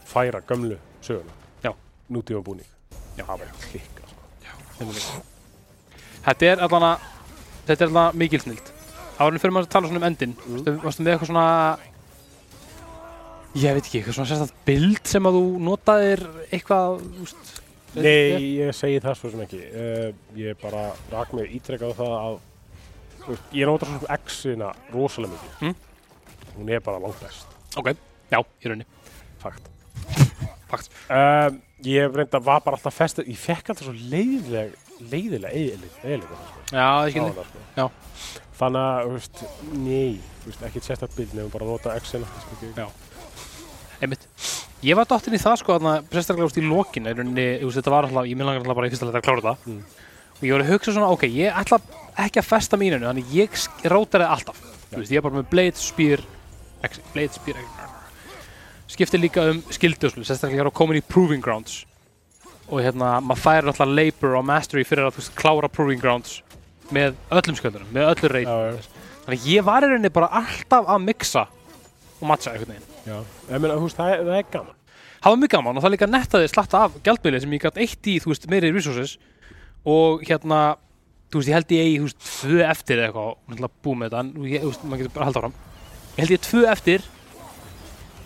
[SPEAKER 2] færa gömlu söguna,
[SPEAKER 1] Já.
[SPEAKER 2] nútíma búning,
[SPEAKER 1] Já.
[SPEAKER 2] það væri klikka, sko.
[SPEAKER 1] Þetta er allan að Þetta er allan að mikil snild Árinn fyrir maður að tala svona um endin Varstu, varstu með eitthvað svona Ég veit ekki, eitthvað svona sérstætt bild sem að þú notaðir eitthvað úst,
[SPEAKER 2] Nei, ég segi það svo sem ekki. Uh, ég bara rak mig ítrekkað á það að, þú veist, ég nota svo sem X-ina rosalega mikið.
[SPEAKER 1] Mm.
[SPEAKER 2] Hún er bara langt best,
[SPEAKER 1] Ok, já, í rauninni
[SPEAKER 2] fakt.
[SPEAKER 1] Fakt
[SPEAKER 2] Um, ég reynda var bara alltaf festið, ég fekk alltaf svo leiðilega, leiðilega eiginlega, eiginlega, sko.
[SPEAKER 1] Já, ég skilni
[SPEAKER 2] áðan, sko.
[SPEAKER 1] Já.
[SPEAKER 2] Þannig að, þú veist, nei, þú veist, ekkert sérstætt bíl nefnum bara að nota Excel.
[SPEAKER 1] Já. Einmitt Ég var dottinn í það sko þarna Prestaklega úst í lokin í rauninni, úst, Þetta var alltaf Ég minn langar alltaf bara í fyrsta leita að klára það
[SPEAKER 2] Mm.
[SPEAKER 1] Og ég var að hugsa svona Ok, ég ætla ekki að festa míninu Þannig ég sk- rótaraði alltaf Þú veist, ég er bara með blade, spear exi, Blade, spear, exi Skipti líka um skilduslu Sérstaklega ég var komin í proving grounds Og hérna, maður færi náttúrulega labor og mastery Fyrir að þú veist, klára proving grounds Með öllum sköldunum, með öllu reynd
[SPEAKER 2] Já, já.
[SPEAKER 1] Þannig að ég var í rauninni bara alltaf að mixa Og matcha einhvern veginn
[SPEAKER 2] Já. Ég meina, þú veist, það, er- það er gaman.
[SPEAKER 1] það var mjög gaman og það líka nettaði slatta af gjaldmiðli sem ég gætt eitt í, þú veist, meiri resources og hérna þú veist, ég held ég eigi, þú veist, tvö eftir eða eitthvað, og náttúrulega búið með þetta, en ég, þú veist, maður getur bara að halda áram ég held ég tvö eftir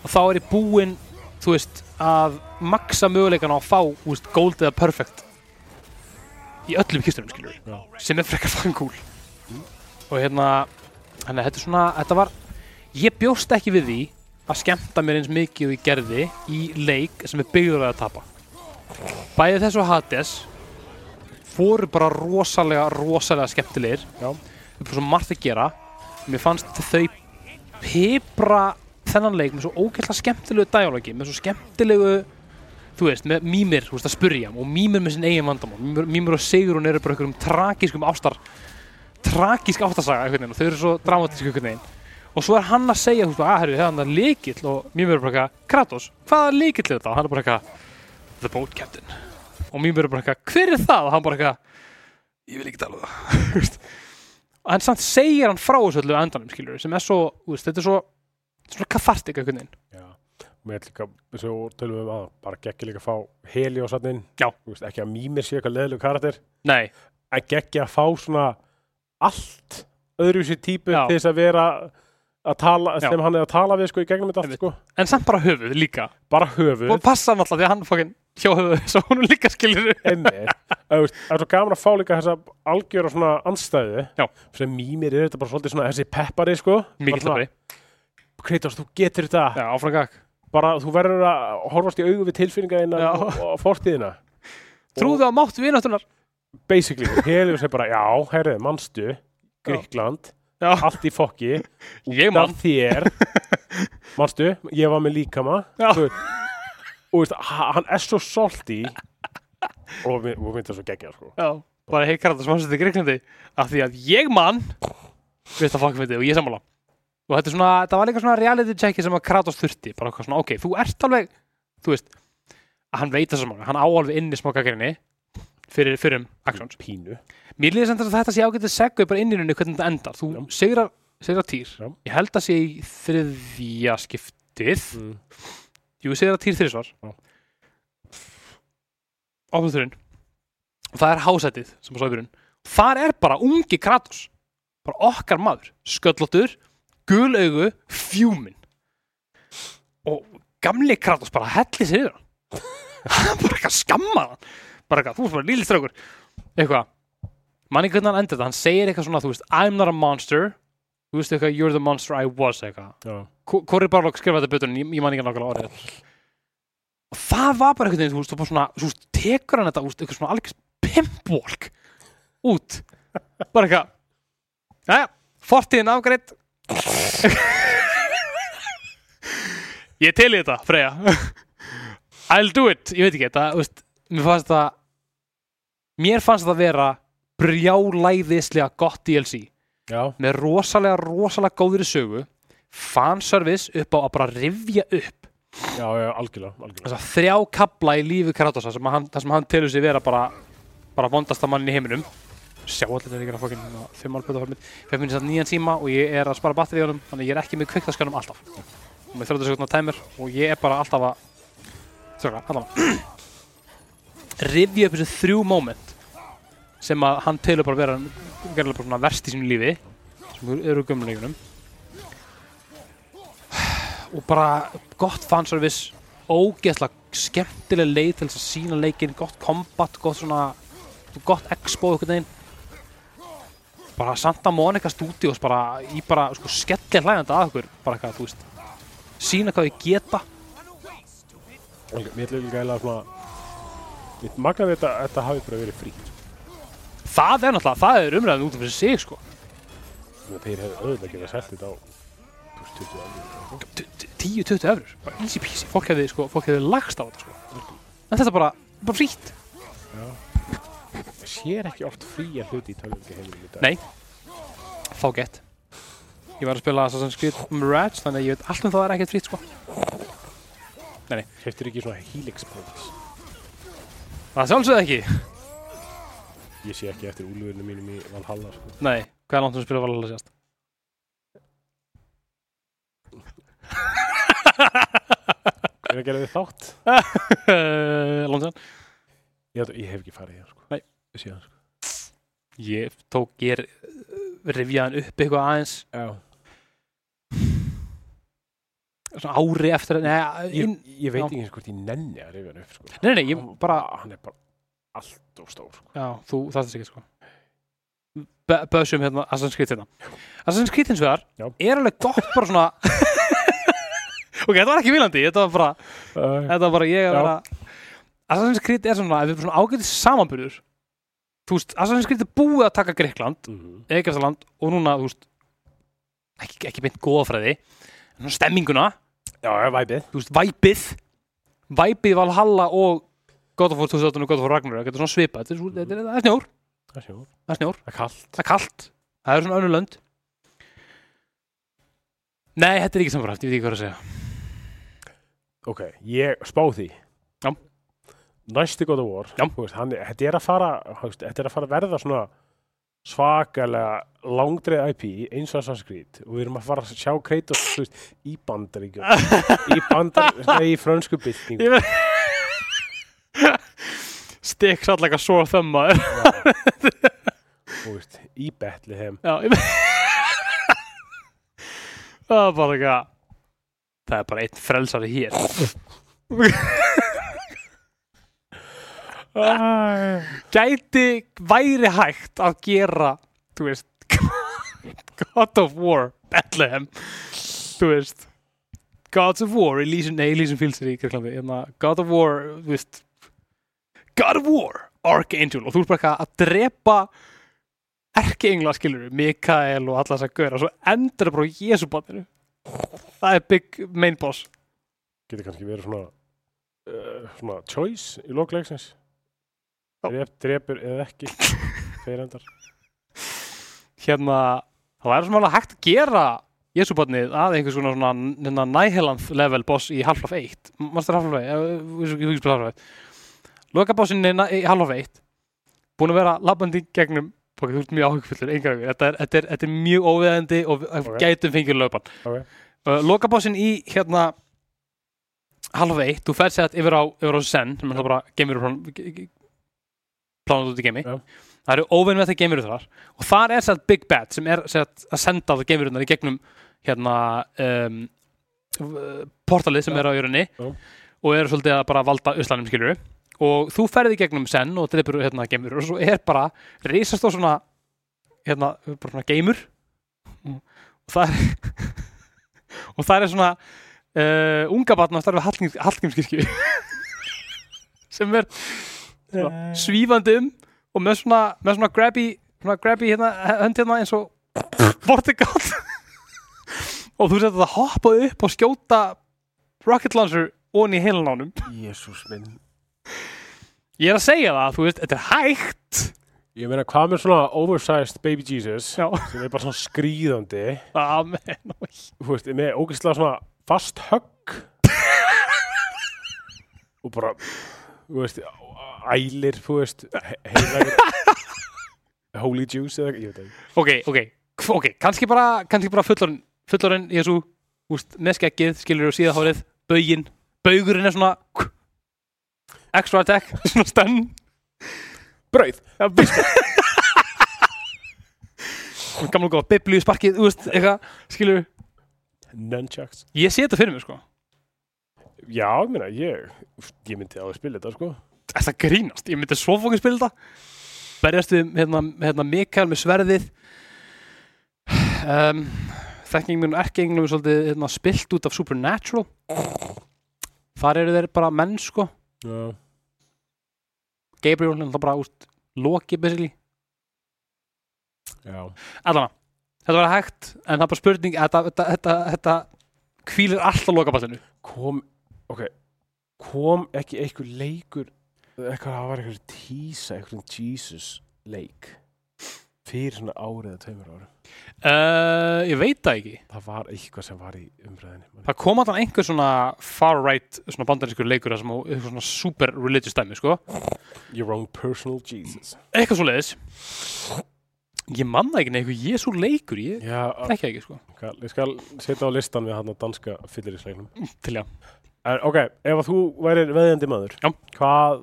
[SPEAKER 1] og þá er ég búinn, þú veist að maksa möguleikana á að fá þú veist, gold eða perfect í öllum kistunum, skilur
[SPEAKER 2] Já.
[SPEAKER 1] sem er frekar fangúl og hérna, þannig að þetta er svona þetta var, ég bjóst ekki við því að skemmta mér eins mikið og ég gerði í leik sem er byggður að tapa bæði þessu og Hades voru bara rosalega rosalega skemmtilegir
[SPEAKER 2] Já.
[SPEAKER 1] það er bara svo margt að gera mér fannst þau pipra þennan leik með svo ógeðslega skemmtilegu dæjálagi, með svo skemmtilegu þú veist, með mýmir, þú veist að spurja og mýmir með sinn eigin vandamál, mýmir, mýmir og Sigrun eru bara einhverjum tragískum ástar tragísk áttasaga einhvern veginn og þau eru svo dramatísk einhvern veginn og svo er hann að segja, þú veist, að herru, það er líkill og mér verður bara eitthvað, Kratos, hvaða líkill er þetta? Og hann er bara eitthvað, the boat captain og mér verður bara eitthvað, hver er það? Og hann bara eitthvað, ég vil ekki tala um það Þú veist. og hann samt segir hann frá þessu öllu á endanum, skilur sem er svo, þú veist, þetta er svo svona kathartik einhvern veginn
[SPEAKER 2] Já, mér er líka, eins og tölum við um að bara geggja líka að fá heli og sannin
[SPEAKER 1] Já.
[SPEAKER 2] veist, ekki að mýmir sé eitthvað leðilegu karakter
[SPEAKER 1] Nei,
[SPEAKER 2] en geggja að fá svona allt öðruvísi típu
[SPEAKER 1] Já.
[SPEAKER 2] til þess að vera að tala,
[SPEAKER 1] Já.
[SPEAKER 2] sem hann er að tala við sko í gegnum þetta allt
[SPEAKER 1] Einmitt.
[SPEAKER 2] sko,
[SPEAKER 1] en samt bara höfuð líka
[SPEAKER 2] bara höfuð
[SPEAKER 1] og passa hann alltaf því að hann fokkin hjá höfuð svo hún líka skilur
[SPEAKER 2] einmitt, Að, þú veist, það er svo gaman að fá líka þessa algjöra svona anstæðu
[SPEAKER 1] Já.
[SPEAKER 2] sem mýmir er þetta bara svolítið svona þessi peppari sko,
[SPEAKER 1] mikið
[SPEAKER 2] bara
[SPEAKER 1] hlapari,
[SPEAKER 2] svona, Kratos, þú getur þetta
[SPEAKER 1] já, áfram gag
[SPEAKER 2] bara þú verður að horfast í augu við tilfinninga þína
[SPEAKER 1] Já.
[SPEAKER 2] og, og fortíðina
[SPEAKER 1] trúðu á mátt vináttunar
[SPEAKER 2] basically, Helios er bara já, herrið, manstu Gríkland,
[SPEAKER 1] Já.
[SPEAKER 2] allt í fokki
[SPEAKER 1] Ég
[SPEAKER 2] af
[SPEAKER 1] man.
[SPEAKER 2] þér manstu, ég var með líkama
[SPEAKER 1] Já.
[SPEAKER 2] Þú veist, og veist, ha- hann er svo salty og við myndum svo geggja sko.
[SPEAKER 1] Já, bara hei Kratos mannsett í Greiklandi af því að ég mann við þetta fokk fyndið og ég sammála og þetta er svona, þetta var líka svona reality checki sem að Kratos þurfti, bara eitthvað svona, ok, þú ert alveg þú veist, að hann veit þessum hann á alveg inni smokkakerinni fyrir, fyrir um actions
[SPEAKER 2] pínu
[SPEAKER 1] Mér líður sem þetta sé ágætið seggu bara inn í rauninni hvernig þetta endar, þú
[SPEAKER 2] Já.
[SPEAKER 1] sigrar, sigrar týr,
[SPEAKER 2] Já.
[SPEAKER 1] ég held að sé í þriðja skiptið
[SPEAKER 2] Mm.
[SPEAKER 1] Jú, ég segir það týr þrísvar
[SPEAKER 2] Já.
[SPEAKER 1] Áflöðurinn Og það er hásætið sem að sæðurinn Þar er bara ungi Kratos Bara okkar maður, sköllóttur Gul augu, fjúmin Og gamli Kratos bara helli sér yfir hann Hann bara eitthvað skamma hann Bara eitthvað, þú er bara lítið strákur Eitthvað Manni hvernig hann endur þetta, hann segir eitthvað svona, þú veist I'm not a monster Þú veist eitthvað, you're the monster I was eitthvað
[SPEAKER 2] já,
[SPEAKER 1] Kori Barlokk skrifaði þetta betur en ég, ég man ekki nákvæmlega orðið og það var bara einhvern veginn þú veist, þú bara svona, þú veist, tekur hann þetta þú veist, eitthvað svona algjörst pimpwalk út, bara eitthvað jæja, fortíðin afgreitt ég til í þetta Freyja I'll do it, ég veit ekki þetta þú veist, mér fannst það mér fannst það vera brjálæðislega gott DLC
[SPEAKER 2] já,
[SPEAKER 1] með rosalega, rosalega góðri sögu fanservice upp á að bara rifja upp
[SPEAKER 2] já, já, algjörlega, algjörlega.
[SPEAKER 1] þess að þrjá kabla í lífi Kratosa sem hann, það sem hann telur sig vera bara bara vondasta mannin í heiminum sjá allir þetta líka fokkin fimm alpöta fyrir minn fyrir minn satt nýjan síma og ég er að spara batteri í honum þannig að ég er ekki með kviktaskanum alltaf og með 30 sekundar tæmir og ég er bara alltaf að þjókla, allavega rifja upp þessi þrjú moment sem að hann telur bara vera gerðilega bara svona verst í sínu lífi sem eru gömleikunum og bara gott fanservice ógeðslega skemmtileg leið til þess að sína leikinn, gott kombat gott svona, gott expo einhvern veginn bara Santa Monica Studios bara í bara sko skellir hlægandi að okkur bara eitthvað, þú veist sína hvað ég geta
[SPEAKER 2] Algjörlega. mér er líka eða svona mér magnaði þetta að þetta hafi bara verið frí
[SPEAKER 1] það er náttúrulega, það er umræðin út af fyrir sig sko
[SPEAKER 2] Þannig að þeir hefðu auðvitað getað sett þetta á þú veist, 20 ári
[SPEAKER 1] 10-20 efrur, bara easy peasy fólk hefði sko, fólk hefði lagst á þetta sko en þetta bara, bara frýtt
[SPEAKER 2] sér ekki oft fría hluti í tölvöldi heiminum í dag
[SPEAKER 1] Nei. Fá gett Ég var að spila Assassin's Creed Mirage Þannig að ég veit allt um það er ekkert frýtt sko
[SPEAKER 2] hefur ekki svona helix points
[SPEAKER 1] Það sjálfsögðu ekki
[SPEAKER 2] ég sé ekki eftir úlfurinu mínum í Valhalla sko.
[SPEAKER 1] Nei, hvað er langt um að spila Valhalla sérst?
[SPEAKER 2] er að gera þið þátt
[SPEAKER 1] Eh, langt sér
[SPEAKER 2] ég, held- ég hef ekki farið hér sko.
[SPEAKER 1] Nei.
[SPEAKER 2] síðan sko.
[SPEAKER 1] Ég tók, ég uh, rifjaðan upp eitthvað aðeins Svona ári eftir Nei, inn,
[SPEAKER 2] ég, ég veit
[SPEAKER 1] Já.
[SPEAKER 2] ekki eins hvort ég nenni að rifja hann upp sko.
[SPEAKER 1] nei, nei, ég
[SPEAKER 2] Hann-
[SPEAKER 1] bara
[SPEAKER 2] hann er bara allt of stór sko.
[SPEAKER 1] Já, þú þarfst ekki sko Be- Bösum hérna, Assassin's Creed hérna Assassin's Creed hins vegar
[SPEAKER 2] Já.
[SPEAKER 1] er alveg gott bara svona Ok, þetta var ekki vilandi, þetta var bara
[SPEAKER 2] uh,
[SPEAKER 1] þetta var bara ég að
[SPEAKER 2] Já.
[SPEAKER 1] vera Assassin's Creed er svona, ef við erum svona ágætið samanbyrður þú veist, Assassin's Creed er búið að taka Greikland,
[SPEAKER 2] Mhm.
[SPEAKER 1] Egyptaland og núna, þú veist ekki, ekki beint góðafræði, en svona stemminguna
[SPEAKER 2] já, já, væpið
[SPEAKER 1] þú veist, væpið væpið Valhalla og God of War 2018 og God of War Ragnarök, þetta er svona svipað þetta er, svo, þetta er, það er snjór,
[SPEAKER 2] það er sjó,
[SPEAKER 1] það er snjór
[SPEAKER 2] það er kallt
[SPEAKER 1] það er kalt, það eru svona önnur lönd Nei, þetta er ekki samfræft, ég veit ekki hvað er að segja
[SPEAKER 2] Ok, ég spá því
[SPEAKER 1] Já.
[SPEAKER 2] Næsti God of War
[SPEAKER 1] Já.
[SPEAKER 2] þú veist, hann, er- Þetta er að fara þú veist, Þetta er að fara að verða svona svakalega langdreið IP eins og Assassin's Creed og við erum að fara að sjá Kratos þú veist, í bandaríkjum í bandar, nei, í frönsku byltingu
[SPEAKER 1] Ég veit Stikk sallega svo að þömma Já,
[SPEAKER 2] þú veist, í Bethlehem
[SPEAKER 1] ég veit Það er bara eitthvað Það er bara einn frelsari hér Gæti væri hægt að gera þú veist God of War Bethlehem þú veist Gods of War Elysium, nei, Elysium Fields er í Kirklandi hérna, God of War, þú veist God of War, Archangel og þú ert bara eitthvað að drepa erkeengla skilur Mikael og alla þess að gauðra svo endur bara á Jésubanninu það er big main boss
[SPEAKER 2] getur kannski verið svona uh, svona choice í lokleiksins
[SPEAKER 1] Já.
[SPEAKER 2] Drep, drepur eða ekki feirendar
[SPEAKER 1] hérna, það væri svona alveg hægt að gera Jésubannið að einhvers konar svona hérna, næhelanð level boss í Half-Life 1 Master Half-Life 1 ég hugis bara Half-Life lokabossinni í Half-Life 1 búin að vera labbandi í gegnum ok, þú ert mjög áhyggfullur, engar áhyggjur. þetta, er- þetta, er- þetta er mjög óviðandi og við
[SPEAKER 2] Ok.
[SPEAKER 1] gætum fengið lögbann
[SPEAKER 2] Ok.
[SPEAKER 1] uh, lokabossin í hérna Half-Life 1, þú ferð sett yfir á, yfir á Zen sem er þá bara geimur planað út í geimi
[SPEAKER 2] Já.
[SPEAKER 1] það eru óvinn með þetta geimurur þar og þar er sett Big Bad sem er sett að senda það geimurinnar í gegnum hérna um, v- portalið sem
[SPEAKER 2] Já.
[SPEAKER 1] er á jörunni
[SPEAKER 2] Já.
[SPEAKER 1] og eru svolítið að bara valda uslanum skilur og þú ferði gegnum senn og dreipur hérna geimur og svo er bara risast á svona hérna, bara svona geimur og það er og það er svona uh, unga batna að starfa Hallgríms, Hallgrímskirkju sem er
[SPEAKER 2] Eh.
[SPEAKER 1] svona, svífandi um og með svona, með svona grabby svona grabby hérna, hönd hérna eins og vortikátt og þú setur það að hoppa upp og skjóta rocket launcher onni í heilan ánum
[SPEAKER 2] Jésús minn
[SPEAKER 1] ég er að segja það, þú veist, þetta er hægt
[SPEAKER 2] Ég meina, hvað með svona oversized baby Jesus
[SPEAKER 1] já,
[SPEAKER 2] sem er bara svona skrýðandi
[SPEAKER 1] amen
[SPEAKER 2] þú veist, með ógeðslega svona fast högg og bara þú veist, ælir þú veist, heilagur holy juice eða, ég veit ekki
[SPEAKER 1] ok, ok, Hv- ok, kannski bara kannski bara fullorinn, fullorinn Jésu úst, með skeggið, skilur þú síðahárið bauginn, baugurinn er svona extra attack svona stönn
[SPEAKER 2] Brauð,
[SPEAKER 1] Já, Gamla góða biblíu sparkið, þú veist, eitthvað, skilur
[SPEAKER 2] nunchucks
[SPEAKER 1] Ég sé þetta fyrir mér, sko
[SPEAKER 2] Já, ég meina, ég ég myndi að spila þetta, sko
[SPEAKER 1] Er það grínast? Ég myndi svo fókin spila þetta Berjast við, hérna, hérna, Mikael með sverðið um, Þekking minn og erkeenglum er svolítið, hérna, spilt út af Supernatural Þar eru þeir bara menn, sko
[SPEAKER 2] Já,
[SPEAKER 1] Gabriel, hérna, bara, úst, Loki, basically
[SPEAKER 2] já
[SPEAKER 1] Allana, þetta var hægt En það er bara spurning, þetta, þetta, þetta, þetta Hvílir alltaf lokaballinu
[SPEAKER 2] kom, ok kom ekki einhver leikur eitthvað, það var eitthvað tísa eitthvað Jesus leik fyrir svona árið eða tveimur ára
[SPEAKER 1] Uh, ég veit það ekki.
[SPEAKER 2] það var eitthvað sem var í umræðinni man.
[SPEAKER 1] Það kom alltaf einhver svona far right, svona bandarískur leikur þar sem á- eitthvað svona super religious dæmi, sko.
[SPEAKER 2] your own personal Jesus
[SPEAKER 1] Eitthvað svo leiðis. Ég man það ekki neitt, eitthvað Jésu leikur, ég
[SPEAKER 2] já,
[SPEAKER 1] þekki það ekki, sko.
[SPEAKER 2] skal, ég skal setja á listan við hann að danska fyllirisleiknum
[SPEAKER 1] Til já.
[SPEAKER 2] en, ok, ef að þú værir veðjandi maður
[SPEAKER 1] Já.
[SPEAKER 2] hvað,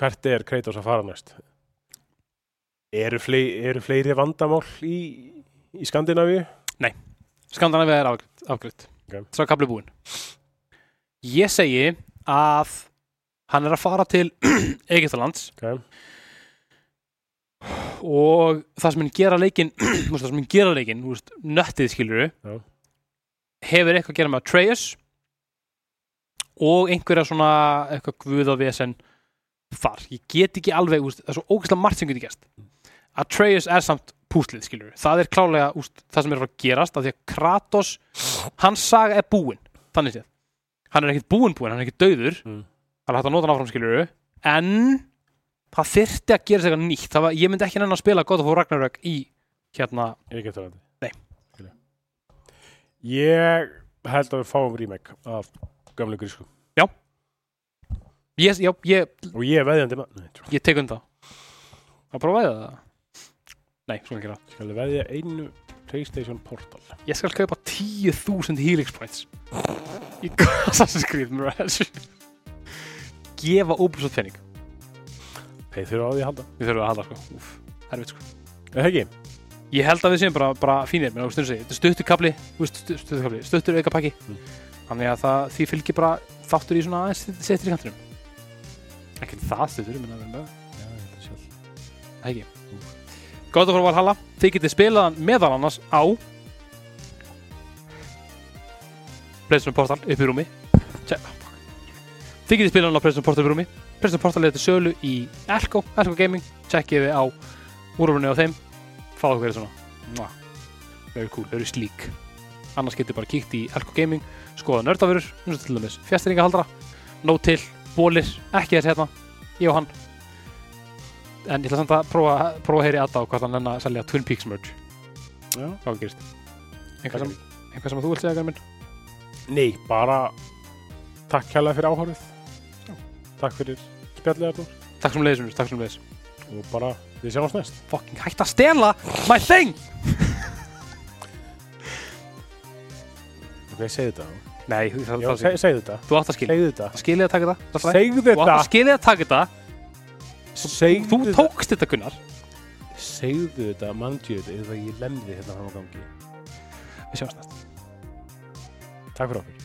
[SPEAKER 2] hvert er Kratos að fara næst eru, fle eru fleiri vandamál í, í Skandinavíu
[SPEAKER 1] Skandana við er afgriðt.
[SPEAKER 2] Ok.
[SPEAKER 1] Sá kapli búinn. Ég segi að hann er að fara til Egyptalands
[SPEAKER 2] ok,
[SPEAKER 1] og það sem hann gera leikinn, þú veist, það sem hann gera leikinn, þú veist, nöttið skilur
[SPEAKER 2] Já.
[SPEAKER 1] hefur eitthvað að gera með Atreus og einhverja svona eitthvað guðavesen þar, ég get ekki alveg úst, það er svo ógeðslega margt sem getur gerst Atreus er samt púslið skilur það er klálega úst, það sem er að fara að gerast af því að Kratos, hans saga er búin þannig séð, hann er ekkert búin búin hann er ekkert dauður,
[SPEAKER 2] Mm.
[SPEAKER 1] hann er hægt að nota hann áfram skilur en það þyrfti að gera sig eitthvað nýtt það var, ég myndi ekki nennan að spila God of War Ragnarök í hérna,
[SPEAKER 2] Er ekki eftirlandi?
[SPEAKER 1] Nei.
[SPEAKER 2] Skilja. Ég held að við fáum remake af gamlega grísku.
[SPEAKER 1] ég, já, ég,
[SPEAKER 2] Og ég er veðjandi maður. Nei, trú.
[SPEAKER 1] ég tek undan að prófaði það nei, svona ekki
[SPEAKER 2] Ég skal veðja einu PlayStation Portal.
[SPEAKER 1] það ég skal kaupa 10.000 helix points í Assassin's Creed Mirage gefa Ubisoft penning
[SPEAKER 2] Þeir þurfa á því að halda.
[SPEAKER 1] við þurfum að halda sko, úf, herfið sko
[SPEAKER 2] Er það ekki?
[SPEAKER 1] ég held að við séum bara, bara fínir mér ástu þetta er stuttur kapli þú veist, stu- stuttur kapli, stuttur auka pakki
[SPEAKER 2] Mm.
[SPEAKER 1] þannig að það, því fylgir bara þáttur í svona aðeins settir í kantinum ekki það stuttur, minna að vera með
[SPEAKER 2] Já, þetta er sjálf.
[SPEAKER 1] ekki God of War Valhalla, þið getið spilaðan meðal annars á Playstation Portal upp í rúmi Tjá, fuck. þið getið spilaðan á Playstation Portal upp í rúmi Playstation Portal er til sölu í Elko, Elko Gaming tjekkið við á úrfunni á þeim fáðu hverju svona Mwah. very cool, very sleek annars getið bara kíkt í Elko Gaming skoða nördafurur, eins og til dæmis fjastringahaldra, nóg til, bólir ekki þessi hérna, ég og hann en ég ætla samt að prófa, prófa að heyri aðdá hvort hann enna að selja Twin Peaks merch
[SPEAKER 2] Já.
[SPEAKER 1] hvað gerist eitthvað sem, eitthvað sem þú vilt segja Garmin
[SPEAKER 2] Nei, bara takk hérlega fyrir áhórið. Takk fyrir spjallið Arnur.
[SPEAKER 1] takk sem leiðis, Unnur, takk sem leiðis
[SPEAKER 2] Og bara, við sjáum oss næst.
[SPEAKER 1] fucking hætt að stela my thing
[SPEAKER 2] Ok, segðu þetta.
[SPEAKER 1] nei, það, það,
[SPEAKER 2] Já,
[SPEAKER 1] það,
[SPEAKER 2] seg, segðu þetta.
[SPEAKER 1] þú átt að skilja
[SPEAKER 2] Segðu þetta.
[SPEAKER 1] það skilja að taka þetta það er allt í lagi.
[SPEAKER 2] Segðu
[SPEAKER 1] þú átt
[SPEAKER 2] þetta.
[SPEAKER 1] að skilja að taka þetta
[SPEAKER 2] Segðu
[SPEAKER 1] þú tókst þetta Gunnar
[SPEAKER 2] Segðu þetta, manntjöðu þetta, eða ég lemði hérna fram á gangi.
[SPEAKER 1] við sjáumst næst
[SPEAKER 2] Takk fyrir okkur.